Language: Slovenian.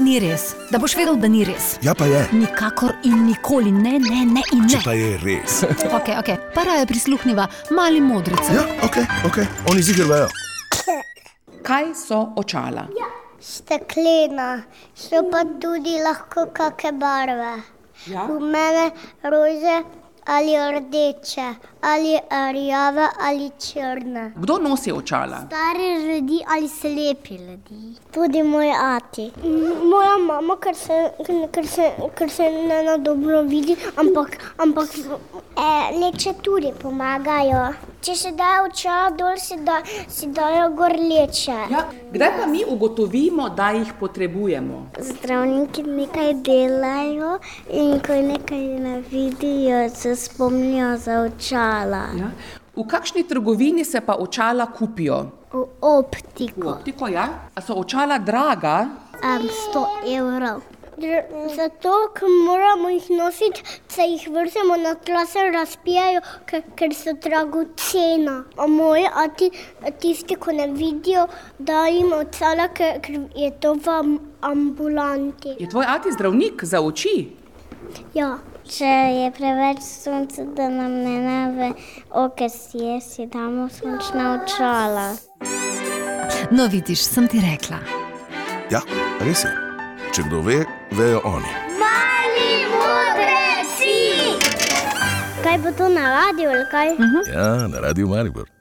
ni res, da boš vedel, da ni res. Ja, pa je. Nikakor in nikoli ne, ne, ne in Če ne. Ja, pa je res. Okay, okay. Para je prisluhnila mali modrici. Ja, ok, ok, oni zigrajo. Kaj so očala? Steklena, so pa tudi lahko kakšne barve. Ja. V mene rože ali rdeče, ali rjave ali črne. Kdo nosi očala? Stari ljudi ali slepi ljudi. Tudi moj ati. Moja mama, ker se, ker se, ker se ne na dobro vidi, ampak, ampak e, leče tudi pomagajo. Če se dajo očala dol, si, da, si dajo gor leče. Ja. Kdaj pa mi ugotovimo, da jih potrebujemo? Zdravniki nekaj delajo in ko nekaj ne vidijo, se spomnijo za očala. Ja. V kakšni trgovini se pa očala kupijo? V V optiko. optiko, ja? A so očala draga? Um, 100 evrov. Zato, ker moramo jih nositi, se jih vrnemo na tla, se razpijajo, ker, ker so dragocena. A moji, a ti, tisti, ko ne vidijo, da jim odsala, ker, ker je to v am- ambulanti. Je tvoj ati zdravnik za oči? Ja. Če je preveč sonca, da nam ne nave okesije, si damo sončna očala. No, vidiš, sem ti rekla. Ja, res je. Če kdo ve, vejo oni. Mali modri si! Kaj bo to na radiju ali kaj? Mhm. Ja, na radiju Maribor.